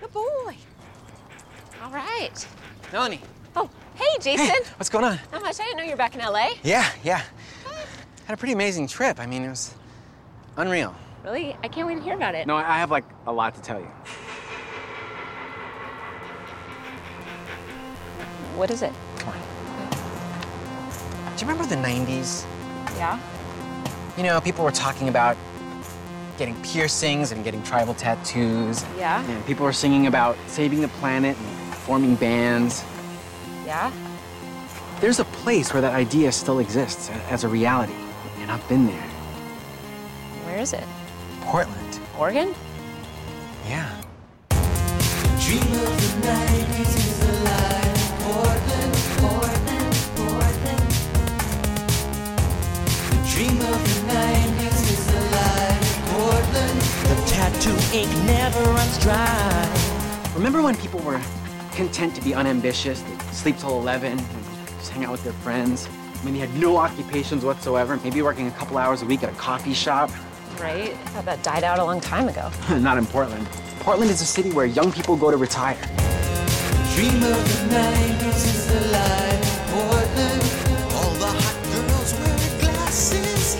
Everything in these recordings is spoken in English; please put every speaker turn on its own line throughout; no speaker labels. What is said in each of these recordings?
Good boy. All right.
Melanie,
Oh, hey, Jason.
what's going on?
How much? I didn't know you were back in LA.
Yeah, yeah. Had a pretty amazing trip. I mean, it was unreal.
Really? I can't wait to hear about it.
No, I I have like a lot to tell you.
What is it?
Come on. Do you remember the 90s?
Yeah.
You know, people were talking about getting piercings and getting tribal tattoos.
Yeah.
And people were singing about saving the planet and forming bands.
Yeah.
There's a place where that idea still exists a- as a reality, and I've been there.
Where is it?
Portland.
Oregon?
Yeah.
The tattoo ink never runs dry.
Remember when people were content to be unambitious, they'd sleep till 11, and just hang out with their friends? I mean, they had no occupations whatsoever, maybe working a couple hours a week at a coffee shop.
Right. I thought that died out a long time ago.
Not in Portland. Portland is a city where young people go to retire.
Dream of the 90s is the life, Portland. All the hot girls wearing glasses.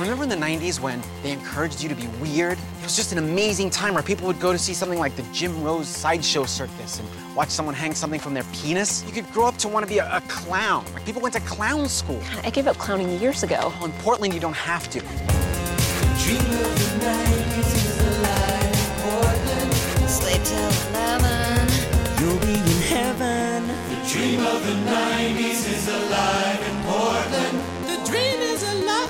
Remember in the 90s when they encouraged you to be weird? It was just an amazing time where people would go to see something like the Jim Rose Sideshow Circus and watch someone hang something from their penis. You could grow up to want to be a, a clown. Like people went to clown school.
I gave up clowning years ago.
Well, in Portland, you don't have to.
Dream of the 90s is the life, Portland.
Sleep till 11.
You'll be in heaven. The dream of the 90s is alive in Portland. The dream is alive.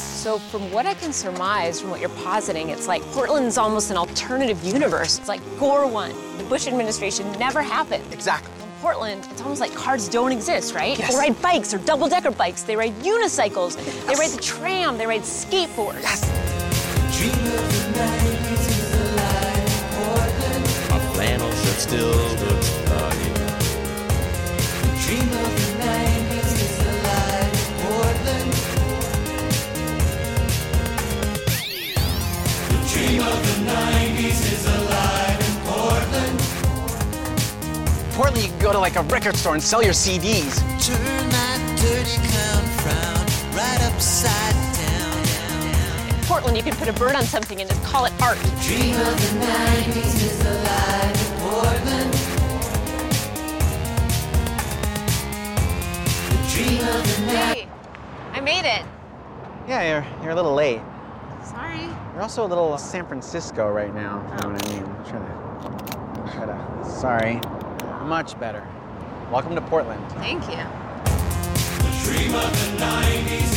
So, from what I can surmise from what you're positing, it's like Portland's almost an alternative universe. It's like Gore One. The Bush administration never happened.
Exactly.
In Portland, it's almost like cars don't exist, right?
Yes.
They ride bikes or double decker bikes, they ride unicycles, they ride the tram, they ride skateboards.
Dream of the 90s is alive, Portland.
My flannel shirt still looks bloody.
Dream of the 90s is alive, Portland. The dream of the 90s is alive in Portland.
Portland, you can go to like a record store and sell your CDs.
Turn that dirty clown frown right upside down.
In Portland, you can put a bird on something and just call it art.
Dream of the 90s is alive in Portland. The dream of the
Hey, I made it.
Yeah, you're, you're a little late.
Sorry.
You're also a little San Francisco right now, if you know what I mean. Try to, try to. Sorry. Much better. Welcome to Portland.
Thank you.
dream of the 90s